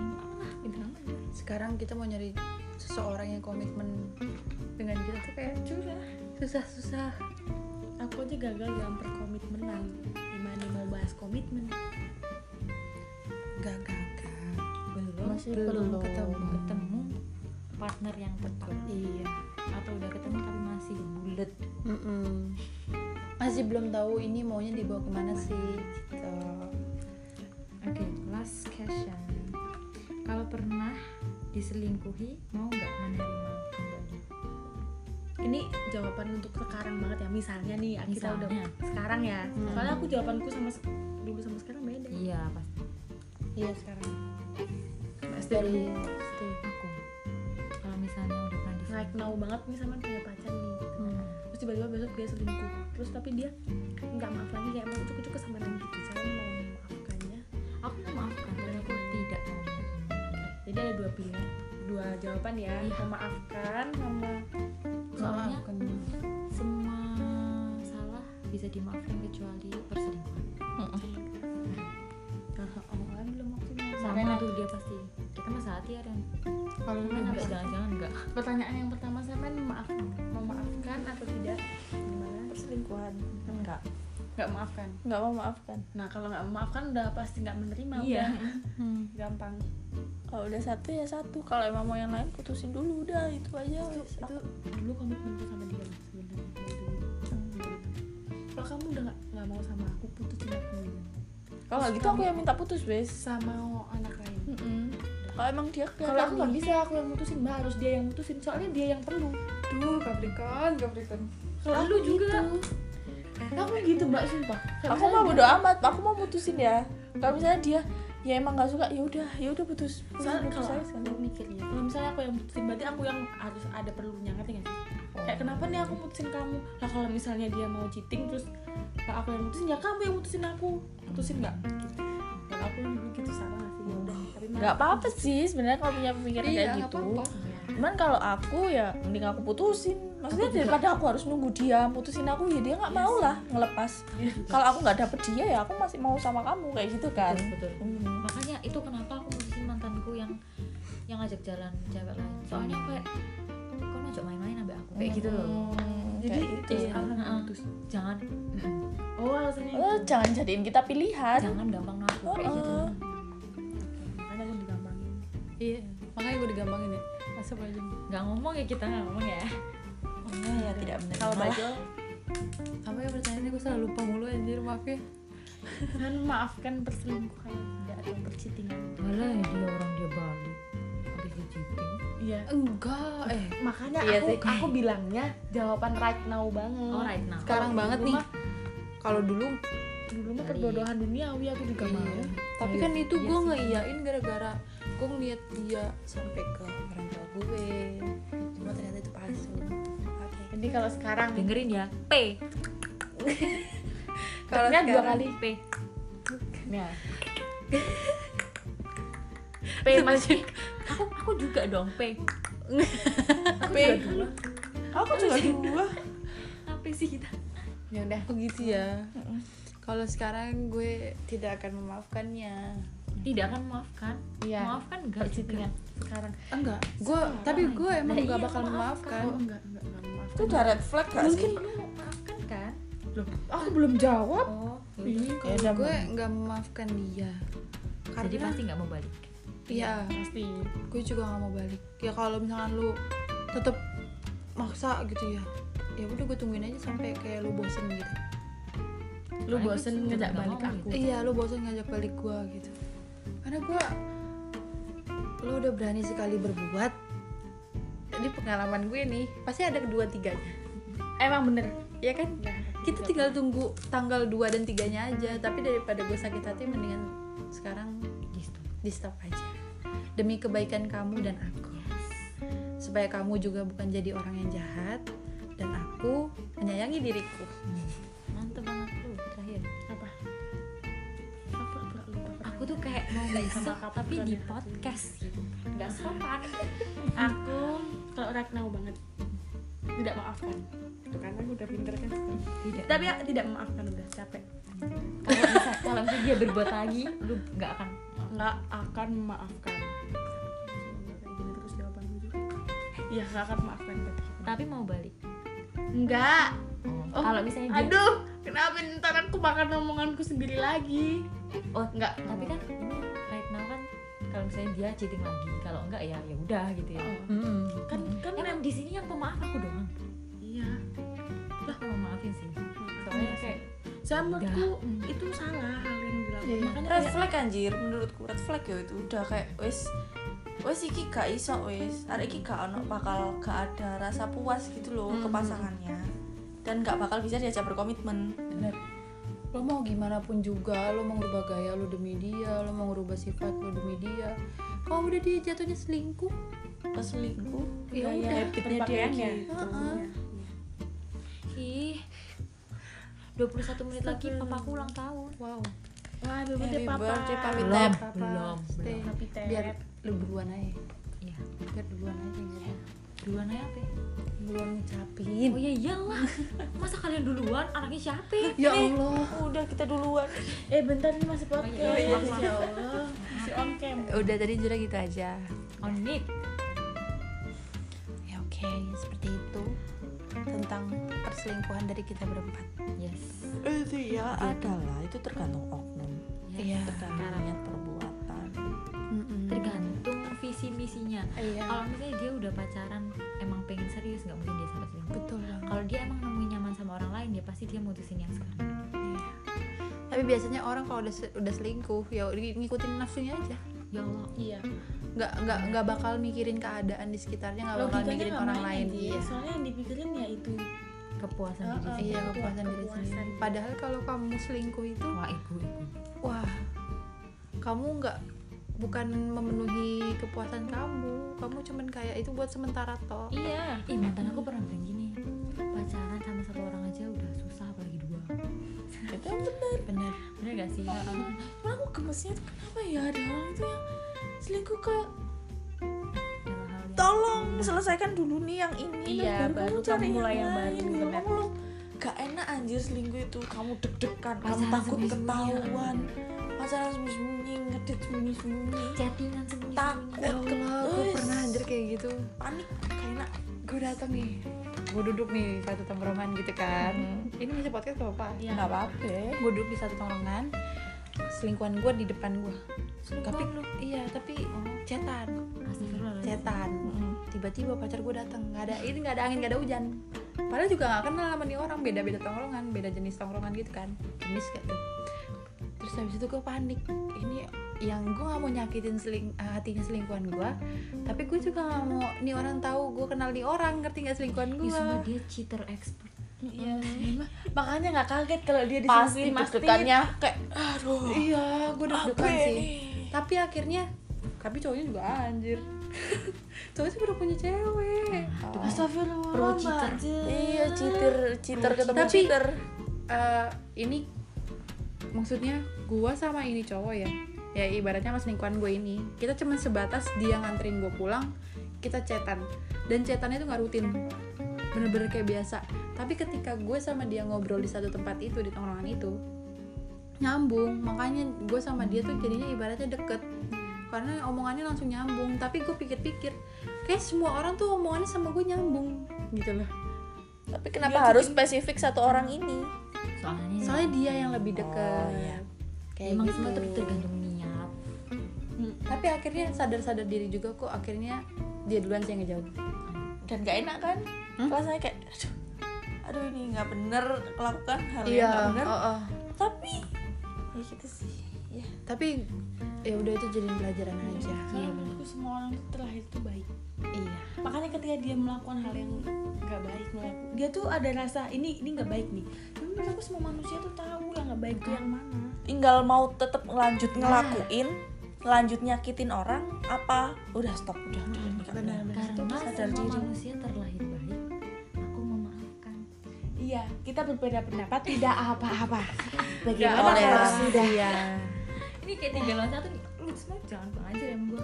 Speaker 1: sekarang kita mau nyari seseorang yang komitmen dengan kita tuh kayak
Speaker 4: curah
Speaker 1: susah-susah
Speaker 4: aku aja gagal dalam perkomitmenan gimana mau bahas komitmen
Speaker 1: gak gak
Speaker 2: belum
Speaker 1: Masih belum
Speaker 2: ketemu
Speaker 1: ketemu.
Speaker 2: ketemu partner yang tepat
Speaker 1: iya
Speaker 2: atau udah ketemu tapi masih bulat
Speaker 1: masih belum tahu ini maunya dibawa kemana sih gitu
Speaker 2: oke last question kalau pernah diselingkuhi mau nggak menerima kembali
Speaker 4: ini jawaban untuk sekarang banget ya misalnya nih kita udah
Speaker 2: Misalnya.
Speaker 4: sekarang ya
Speaker 1: Hmm.
Speaker 4: soalnya aku jawabanku sama se- dulu sama sekarang beda
Speaker 2: iya pasti
Speaker 4: iya sekarang
Speaker 1: pasti
Speaker 4: dari
Speaker 2: aku kalau misalnya udah pernah di
Speaker 4: naik nau banget nih sama punya pacar nih gitu.
Speaker 1: Hmm.
Speaker 4: terus tiba-tiba besok dia selingkuh terus tapi dia nggak maaf lagi kayak mau cukup-cukup sama yang gitu saya mau memaafkannya
Speaker 2: aku memaafkan dan aku tidak mau menerima.
Speaker 4: jadi ada dua pilihan dua jawaban ya
Speaker 2: Iya.
Speaker 4: memaafkan sama
Speaker 2: soalnya
Speaker 1: Maafkan.
Speaker 2: semua salah bisa dimaafkan kecuali perselingkuhan
Speaker 4: oh kan belum Nah,
Speaker 2: sama
Speaker 4: waktunya
Speaker 2: tuh dia pasti kita masa hati ya Ren
Speaker 1: Kalau lu
Speaker 2: Enggak,
Speaker 1: apa?
Speaker 2: jangan-jangan enggak
Speaker 4: pertanyaan yang pertama saya main memaafkan memaafkan atau tidak gimana
Speaker 3: perselingkuhan
Speaker 4: enggak nggak maafkan
Speaker 3: nggak mau maafkan
Speaker 4: nah kalau nggak memaafkan udah pasti nggak menerima
Speaker 2: Iya.
Speaker 4: udah.
Speaker 1: Hmm.
Speaker 4: gampang
Speaker 3: kalau udah satu ya satu kalau emang mau yang lain putusin dulu udah itu aja
Speaker 4: itu,
Speaker 3: wes.
Speaker 4: itu dulu komitmen tuh sama dia sebenarnya dari dulu. kalau kamu udah nggak nggak mau sama aku putusin aku
Speaker 3: kalau nggak gitu aku yang minta putus wes
Speaker 4: sama anak lain
Speaker 3: Mm-mm. kalau emang dia
Speaker 4: kalau aku nggak
Speaker 3: kelihatan
Speaker 4: bisa aku yang mutusin mbak harus dia yang mutusin soalnya dia yang perlu
Speaker 1: Duh, Capricorn, Capricorn.
Speaker 4: kalau lu juga kamu gitu mbak sumpah Kayak
Speaker 3: aku mau
Speaker 4: misalnya
Speaker 3: bodo amat aku mau putusin ya kalau misalnya dia ya emang nggak suka ya udah ya udah putus
Speaker 4: dia-
Speaker 3: Putus,
Speaker 4: soalnya
Speaker 3: putus
Speaker 4: kalau
Speaker 3: aja sekali.
Speaker 4: aku mikirnya kalau misalnya aku yang mutusin berarti aku yang harus ada perlunya ngerti nggak sih kayak kenapa nih aku mutusin kamu lah kalau misalnya dia mau cheating terus lah aku yang mutusin ya kamu yang mutusin aku putusin nggak gitu. kalau aku dulu gitu salah nggak sih ya udah tapi maaf.
Speaker 3: nggak apa-apa sih sebenarnya kalau punya pemikiran
Speaker 1: Iya,
Speaker 3: kayak
Speaker 1: nggak
Speaker 3: gitu
Speaker 1: apa-apa.
Speaker 3: cuman kalau aku ya mending aku putusin maksudnya daripada aku harus nunggu dia putusin aku ya dia nggak mau lah ngelepas kalau aku nggak dapet dia ya aku masih mau sama kamu kayak gitu kan
Speaker 2: betul, betul.
Speaker 3: Hmm.
Speaker 2: makanya itu kenapa aku mutusin mantanku yang yang ngajak jalan cewek lain soalnya kayak kok ngajak main-main sampai aku kayak gitu loh
Speaker 3: Iya. Hmm,
Speaker 4: jadi
Speaker 3: kayak
Speaker 4: itu
Speaker 3: gitu.
Speaker 1: Iya. Ah.
Speaker 4: alasan
Speaker 2: Heeh.
Speaker 4: putus
Speaker 2: jangan
Speaker 4: oh alasannya
Speaker 3: Eh, jangan jadiin kita pilihan
Speaker 2: jangan gampang ngaku kayak gitu
Speaker 3: Heeh.
Speaker 4: makanya aku digampangin
Speaker 1: Iya, makanya gue digampangin ya. Masa aja.
Speaker 2: nggak ngomong ya kita nggak ngomong ya
Speaker 1: Iya,
Speaker 3: Ya, ya tidak benar
Speaker 4: kalau
Speaker 3: Malah
Speaker 4: bajul
Speaker 1: Apa ya pertanyaannya gue selalu lupa mulu anjir, maaf ya.
Speaker 4: dan Kan maafkan perselingkuhan tidak atau percitingan
Speaker 2: malah ya dia orang dia balik habis di cheating
Speaker 4: iya
Speaker 1: Enggak, eh
Speaker 4: makanya
Speaker 1: Iya
Speaker 4: aku
Speaker 1: sih.
Speaker 4: aku bilangnya jawaban right now banget
Speaker 2: alright nah
Speaker 1: sekarang banget
Speaker 4: dulu
Speaker 1: nih.
Speaker 4: mah-
Speaker 1: Kalau dulu
Speaker 4: dulu mah perbodohan duniawi aku juga
Speaker 1: Iya.
Speaker 4: mau
Speaker 1: tapi
Speaker 2: Iya.
Speaker 1: kan itu
Speaker 2: Iya
Speaker 1: gue
Speaker 2: sih.
Speaker 1: ngeiyain gara-gara gue ngeliat dia sampai ke orang tua gue cuma ternyata itu palsu oke
Speaker 4: jadi kalau sekarang
Speaker 2: dengerin ya P
Speaker 1: kalau
Speaker 4: Tepnya dua
Speaker 1: sekarang-
Speaker 4: kali
Speaker 2: P
Speaker 4: ya
Speaker 2: P masih aku aku juga dong P
Speaker 3: P. aku juga dua
Speaker 2: apa sih kita
Speaker 4: ya udah
Speaker 1: oh gitu ya kalau sekarang gue tidak akan memaafkannya
Speaker 2: tidak akan maafkan
Speaker 4: Iya.
Speaker 2: maafkan enggak juga
Speaker 4: percitingan sekarang
Speaker 1: enggak gue tapi gue emang
Speaker 2: Nah,
Speaker 1: gak
Speaker 2: iya,
Speaker 1: bakal memaafkan
Speaker 4: oh enggak enggak enggak maaf
Speaker 3: itu udah red flag gak
Speaker 4: mungkin
Speaker 3: sih
Speaker 4: lu mau maafkan kan loh aku belum jawab
Speaker 2: oh
Speaker 4: Ih,
Speaker 1: kalau
Speaker 3: udah,
Speaker 1: gue nggak memaafkan dia
Speaker 2: jadi
Speaker 1: karena
Speaker 2: pasti nggak mau balik
Speaker 1: ya
Speaker 4: pasti
Speaker 1: gue juga nggak mau balik ya kalau misalkan lu tetap maksa gitu ya ya udah gue tungguin aja sampai kayak lu bosen gitu
Speaker 4: lu
Speaker 2: Soalnya
Speaker 4: bosen
Speaker 2: gue
Speaker 4: ngejak
Speaker 2: juga
Speaker 4: balik
Speaker 2: nggak mau
Speaker 4: aku
Speaker 1: Iya, lu bosan ngajak balik gue gitu. Karena gue, lu udah berani sekali berbuat. Jadi pengalaman gue nih, pasti ada kedua tiganya.
Speaker 4: emang bener
Speaker 1: Ya kan?
Speaker 4: Iya,
Speaker 1: Kita tinggal tunggu tanggal 2 dan tiganya aja. Tapi daripada gue sakit hati, mendingan sekarang
Speaker 2: gitu
Speaker 1: di stop aja. Demi kebaikan kamu dan aku. Supaya kamu juga bukan jadi orang yang jahat. Dan aku menyayangi diriku.
Speaker 2: mantep banget lu terakhir
Speaker 4: apa aku pura lupa
Speaker 2: aku tuh kayak mau
Speaker 4: Sama
Speaker 2: besok
Speaker 4: kapan
Speaker 2: tapi di
Speaker 4: pernah.
Speaker 2: podcast gitu nggak sopan
Speaker 4: aku kalau right now banget tidak maafkan tuh kan aku udah pinter kan
Speaker 2: tidak
Speaker 4: tapi ya, tidak memaafkan udah capek
Speaker 2: kalau bisa- kalau misalnya dia berbuat lagi lu nggak akan
Speaker 4: nggak akan memaafkan Kayak gini terus jawaban gue juga. Iya, nggak akan memaafkan berarti.
Speaker 2: tapi mau balik
Speaker 4: Enggak. Oh,
Speaker 2: kalau misalnya dia
Speaker 4: Aduh, kenapa ntar aku makan omonganku sendiri lagi?
Speaker 2: Oh,
Speaker 4: enggak.
Speaker 2: tapi kan ini right now kan kalau misalnya dia cheating lagi kalau enggak ya ya udah gitu ya
Speaker 4: Oh, kan kan
Speaker 2: emang di sini yang pemaaf aku doang
Speaker 4: iya.
Speaker 2: lah mau maafin Iya sih soalnya kayak
Speaker 4: Saya menurutku itu salah hal yang dilakukan.
Speaker 1: Iya, iya.
Speaker 4: Makanya
Speaker 3: red
Speaker 4: kayak-
Speaker 3: flag anjir menurutku red flag ya itu udah kayak wes wes iki gak iso wes hari iki gak ono bakal gak ada rasa puas gitu loh ke pasangannya dan gak bakal bisa diajak berkomitmen
Speaker 1: lo mau gimana pun juga lo mau ngubah gaya lo demi dia lo mau ngubah sifat lo demi dia kalau udah dia jatuhnya selingkuh
Speaker 3: pas selingkuh
Speaker 1: ya
Speaker 4: Gaya
Speaker 1: udah
Speaker 4: habitnya iya, dia
Speaker 3: berpakaiannya.
Speaker 4: gitu.
Speaker 1: Heeh.
Speaker 2: Ih. 21 menit lagi papaku ulang tahun.
Speaker 1: wow
Speaker 4: Wah, happy
Speaker 3: Happy
Speaker 4: birthday papa.
Speaker 3: birthday, Papi
Speaker 1: Belum,
Speaker 2: Tep.
Speaker 1: Papa.
Speaker 2: belum,
Speaker 1: Stay.
Speaker 2: belum.
Speaker 4: Happy Tep.
Speaker 1: biar lo duluan aja
Speaker 2: Iya.
Speaker 1: biar duluan aja ya
Speaker 2: Duluan aja apa? ya?
Speaker 1: duluan
Speaker 2: Oh
Speaker 1: ngucapin
Speaker 2: ya [laughs] iyalah. Masa kalian duluan anaknya siapa?
Speaker 1: ya allah
Speaker 3: udah kita duluan
Speaker 4: Eh, bentar ini masih podcast.
Speaker 2: Oh, iya, maaf, maaf.
Speaker 4: Ya Allah, masih on cam.
Speaker 1: udah tadi Jura gitu aja
Speaker 2: On mic.
Speaker 1: ya oke seperti itu tentang perselingkuhan dari kita berempat
Speaker 2: Yes.
Speaker 3: itu ya adalah itu tergantung oknum
Speaker 2: Yes.
Speaker 1: Iya.
Speaker 3: tergantung
Speaker 2: Sekarang.
Speaker 3: niat perbuatan
Speaker 2: Tergantung visi misinya.
Speaker 1: iya
Speaker 4: Ah,
Speaker 2: Kalau misalnya dia udah pacaran emang pengen serius nggak mungkin dia sampai selingkuh.
Speaker 1: betul banget
Speaker 2: Kalau dia emang nemuin nyaman sama orang lain ya pasti dia mutusin yang sekarang.
Speaker 1: Iya. Tapi biasanya orang kalau udah se- udah selingkuh ya udah ngikutin nafsunya aja.
Speaker 2: Ya Allah.
Speaker 4: Iya.
Speaker 1: Nggak nggak nggak bakal mikirin keadaan di sekitarnya, nggak bakal
Speaker 4: Logikanya
Speaker 1: mikirin
Speaker 4: nggak
Speaker 1: orang
Speaker 4: main
Speaker 1: lain.
Speaker 4: aja.
Speaker 1: Iya.
Speaker 4: Soalnya yang dipikirin ya itu.
Speaker 2: Kepuasan
Speaker 4: Heeh.
Speaker 2: diri sendiri.
Speaker 1: Iya, kepuasan
Speaker 4: Kepuasan
Speaker 1: diri sendiri.
Speaker 4: diri.
Speaker 1: Padahal kalau kamu selingkuh itu,
Speaker 2: Wah ibu ibu.
Speaker 1: wah, kamu nggak bukan memenuhi kepuasan kamu, kamu cuman kayak itu buat sementara toh.
Speaker 4: Iya.
Speaker 2: Ih mantan aku pernah bilang gini Pacaran sama satu orang aja udah susah apalagi dua
Speaker 3: itu yang benar
Speaker 1: Iya,
Speaker 2: Bener Bener gak sih?
Speaker 4: Cuman aku gemesnya tuh kenapa ya ada orang itu yang selingkuh ke
Speaker 2: Dalam hal yang-
Speaker 3: tolong selesaikan dulu nih yang ini
Speaker 4: Iya,
Speaker 3: nah,
Speaker 4: baru
Speaker 3: kamu cari
Speaker 4: kamu mulai yang
Speaker 3: lain.
Speaker 4: baru,
Speaker 3: Kalau
Speaker 4: benar.
Speaker 3: kamu lu gak enak anjir selingkuh itu kamu deg-degan kamu
Speaker 2: Pacaran
Speaker 3: takut
Speaker 2: sembunyi-sembunyi.
Speaker 3: ketahuan pacaran sembunyi ngedit sembunyi-sembunyi
Speaker 2: Chattingan sembunyi
Speaker 1: Ya
Speaker 3: takut
Speaker 1: Allah, aku
Speaker 3: Wes,
Speaker 1: pernah anjir kayak gitu.
Speaker 3: panik gak enak
Speaker 1: Gue datang nih, gue duduk nih satu tongkrongan gitu kan. Ini masih podcast gak apa-apa.
Speaker 4: Iya.
Speaker 3: nggak apa-apa
Speaker 1: gue duduk di satu tongkrongan selingkuhan gue di depan gue tapi
Speaker 2: lu
Speaker 1: iya tapi cetan
Speaker 2: Astagfirullahaladzim
Speaker 1: cetan tiba-tiba pacar gue datang nggak ada ini nggak ada angin nggak ada hujan padahal juga nggak kenal sama nih orang beda-beda tongkrongan beda jenis tongkrongan gitu kan jenis kayak tuh terus habis itu gue panik ini yang gue gak mau nyakitin seling, eh, hatinya selingkuhan gue tapi gue juga gak mau nih orang tahu gue kenal nih orang ngerti gak selingkuhan
Speaker 2: Ya
Speaker 1: gue
Speaker 2: semua dia cheater expert
Speaker 4: Iya. Makanya nggak kaget kalau dia
Speaker 3: pasti
Speaker 4: diselingkuhin pasti.
Speaker 3: deg-degannya kayak aduh
Speaker 1: iya gue
Speaker 3: apa
Speaker 1: deg-degan sih
Speaker 3: ini
Speaker 1: tapi akhirnya tapi cowoknya juga anjir [laughs] cowoknya sih udah punya cewek
Speaker 2: Pro
Speaker 4: Astagfirullah,
Speaker 2: cheater.
Speaker 4: Mbak.
Speaker 3: iya cheater cheater ketemu
Speaker 1: Tapi-
Speaker 3: cheater
Speaker 1: Eh, ini maksudnya gua sama ini cowok ya ya ibaratnya mas lingkungan gue ini kita cuman sebatas dia nganterin gue pulang kita cetan dan cetannya itu nggak rutin bener-bener kayak biasa tapi ketika gue sama dia ngobrol di satu tempat itu di tongkrongan itu nyambung makanya gue sama dia tuh jadinya ibaratnya deket karena omongannya langsung nyambung tapi gue pikir-pikir kayak semua orang tuh omongannya sama gue nyambung gitu loh
Speaker 3: tapi kenapa harus spesifik satu orang ini
Speaker 2: Soalnya
Speaker 1: soalnya dia yang lebih deket
Speaker 3: Oh, iya.
Speaker 1: kayak
Speaker 2: Emang
Speaker 1: gitu.
Speaker 2: semua kan? ter- tergantung niat
Speaker 1: Hmm, tapi akhirnya sadar-sadar diri juga kok akhirnya dia duluan sih yang ngejauh
Speaker 3: dan gak enak kan
Speaker 1: Hmm?
Speaker 3: rasanya kayak aduh aduh ini nggak bener lakukan hal yang nggak bener
Speaker 1: oh, oh.
Speaker 3: tapi ya
Speaker 4: Iya,
Speaker 3: gitu sih ya
Speaker 1: tapi ya udah itu jadi pelajaran
Speaker 2: Iya.
Speaker 1: aja
Speaker 4: Soalnya menurutku semua orang itu terlahir itu baik.
Speaker 1: iya
Speaker 4: makanya ketika dia melakukan hal yang nggak baik melaku- dia tuh ada rasa ini ini nggak baik nih tapi menurut aku semua manusia tuh tahu yang nggak baik itu yang mana
Speaker 3: tinggal mau tetap lanjut ngelakuin lanjut nyakitin orang apa udah stop udah
Speaker 1: Hmm,
Speaker 3: udah ini nggak bener.
Speaker 2: Karena
Speaker 3: sadar
Speaker 2: semua
Speaker 3: diri.
Speaker 2: manusia terlahir baik Aku memaafkan
Speaker 4: iya kita berbeda pendapat tidak apa-apa
Speaker 3: Ya,
Speaker 4: bagaimana
Speaker 3: oleh
Speaker 4: kalau
Speaker 3: orang.
Speaker 4: sudah
Speaker 2: Iya. Ini kayak tiga lawan satu nih Lu semua jangan ya, pengajar emang gua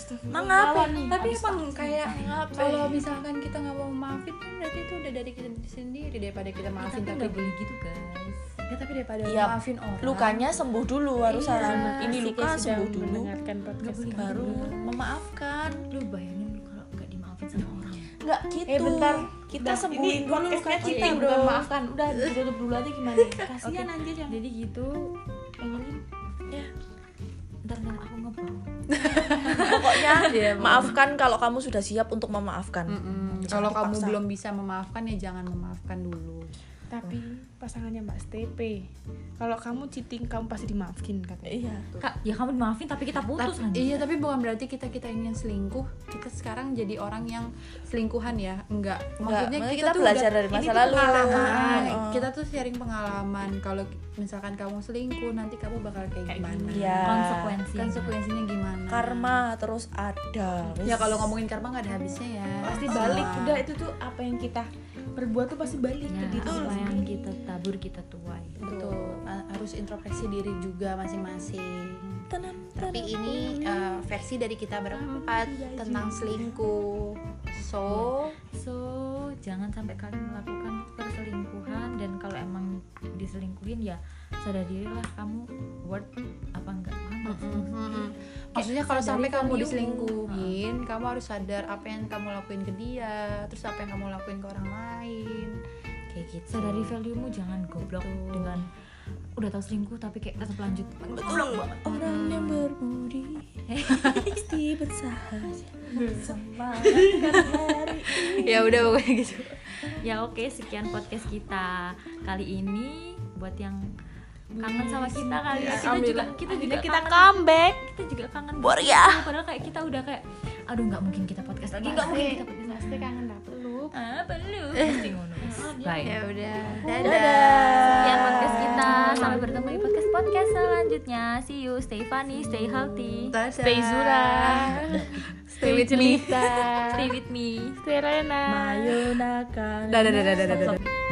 Speaker 3: emang apa
Speaker 4: Lawan nih,
Speaker 1: tapi
Speaker 4: habis ya?
Speaker 1: emang
Speaker 4: vaksin.
Speaker 1: kayak
Speaker 3: Ngapa?
Speaker 1: kalau misalkan kita nggak mau maafin kan berarti itu udah dari kita sendiri daripada kita maafin
Speaker 2: Iya, Tapi
Speaker 1: tapi,
Speaker 2: nggak boleh gitu guys
Speaker 1: ya, tapi daripada
Speaker 3: Iya,
Speaker 1: maafin orang
Speaker 3: lukanya sembuh dulu harus
Speaker 1: Iya.
Speaker 3: harus- ini luka sembuh dulu
Speaker 4: mendengarkan
Speaker 2: Nggak
Speaker 4: podcast
Speaker 2: boleh
Speaker 4: kami.
Speaker 3: baru
Speaker 2: gitu.
Speaker 3: memaafkan
Speaker 2: lu bayangin lu kalau nggak dimaafin sama orang
Speaker 3: nggak gitu
Speaker 4: eh bentar
Speaker 3: kita
Speaker 4: Udah,
Speaker 3: sembuhin
Speaker 4: ini
Speaker 3: dulu
Speaker 4: podcastnya
Speaker 3: lukanya.
Speaker 4: kita udah [laughs] maafkan udah ditutup dulu aja gimana kasihan
Speaker 2: Oke.
Speaker 4: anjir yang
Speaker 2: [laughs] jadi gitu
Speaker 4: dengerin
Speaker 3: Ya.
Speaker 2: ntar ntar aku ngebang
Speaker 3: [laughs] pokoknya
Speaker 1: Iya,
Speaker 3: maafkan kalau kamu sudah siap untuk memaafkan
Speaker 1: Mm-mm.
Speaker 3: Jangan
Speaker 1: kalau kamu
Speaker 3: dipaksa.
Speaker 1: belum bisa memaafkan ya jangan memaafkan dulu
Speaker 4: tapi pasangannya Mbak Stepe kalau kamu cheating kamu pasti dimaafin katanya
Speaker 3: iya
Speaker 2: Kak, ya kamu dimaafin tapi kita putus
Speaker 1: Tapi-
Speaker 2: nanti.
Speaker 1: iya tapi bukan berarti kita kita ingin selingkuh kita sekarang jadi orang yang selingkuhan ya enggak maksudnya
Speaker 3: maksudnya
Speaker 1: kita,
Speaker 3: kita
Speaker 1: tuh
Speaker 3: belajar
Speaker 1: udah-
Speaker 3: dari masa
Speaker 1: ini tuh
Speaker 3: lalu.
Speaker 1: pengalaman.
Speaker 3: Heeh.
Speaker 1: kita tuh sharing pengalaman kalau misalkan kamu selingkuh nanti kamu bakal kayak,
Speaker 4: Kayak
Speaker 1: gimana
Speaker 2: ya.
Speaker 3: Iya.
Speaker 2: Konsekuensi.
Speaker 1: konsekuensinya gimana
Speaker 3: karma terus ada
Speaker 1: ya kalau ngomongin karma nggak ada habisnya ya
Speaker 4: pasti balik
Speaker 1: Salah.
Speaker 4: udah itu tuh apa yang kita perbuat tuh pasti balik
Speaker 2: Ya,
Speaker 4: ke diri
Speaker 2: apa
Speaker 4: sendiri.
Speaker 2: yang kita tabur kita tuai.
Speaker 1: betul A- harus introspeksi diri juga masing-masing
Speaker 3: tenang
Speaker 1: tapi ini eh, versi dari kita berempat tentang selingkuh so
Speaker 2: So, jangan sampai kalian melakukan perselingkuhan dan kalau emang diselingkuhin ya sadar dirilah kamu worth apa enggak. Paham nggak sih
Speaker 1: Mm-mm,
Speaker 2: maksudnya?
Speaker 1: mm-mm. Maksudnya kalau
Speaker 2: sadari
Speaker 1: sampai kamu
Speaker 2: value.
Speaker 1: diselingkuhin, kamu harus sadar apa yang kamu lakuin ke dia, terus apa yang kamu lakuin ke orang lain. Kayak gitu.
Speaker 2: Sadari value-mu jangan goblok
Speaker 1: Betul.
Speaker 2: dengan udah tahu selingkuh tapi kayak tetap lanjut.
Speaker 3: betul orang yang
Speaker 4: [laughs]
Speaker 3: berbudi pasti bersahaja
Speaker 4: Hmm.
Speaker 1: ya udah pokoknya gitu.
Speaker 2: Ya oke, sekian podcast kita kali ini buat yang kangen sama kita kali ya. Kita juga kita juga
Speaker 4: kita
Speaker 2: kangen-
Speaker 4: comeback
Speaker 2: kita juga kangen
Speaker 3: Boria.
Speaker 2: banget. Padahal kayak kita udah kayak aduh nggak mungkin kita podcast lagi, nggak mungkin kita podcast lagi.
Speaker 4: pasti kangen Iya. dapet lu
Speaker 2: Ah,
Speaker 4: [laughs]
Speaker 2: perlu. Pasti ngono. Baik.
Speaker 1: Ya udah.
Speaker 2: Sekian podcast kita. Sampai bertemu di podcast podcast selanjutnya. See you, stay funny, stay healthy,
Speaker 1: Dadah.
Speaker 4: Stay Zura.
Speaker 1: Stay with me.
Speaker 4: Jelita
Speaker 2: stay with me.
Speaker 4: Stay Rena
Speaker 3: ayo nakan
Speaker 1: Dadah dadah dadah dadah.
Speaker 2: Stop.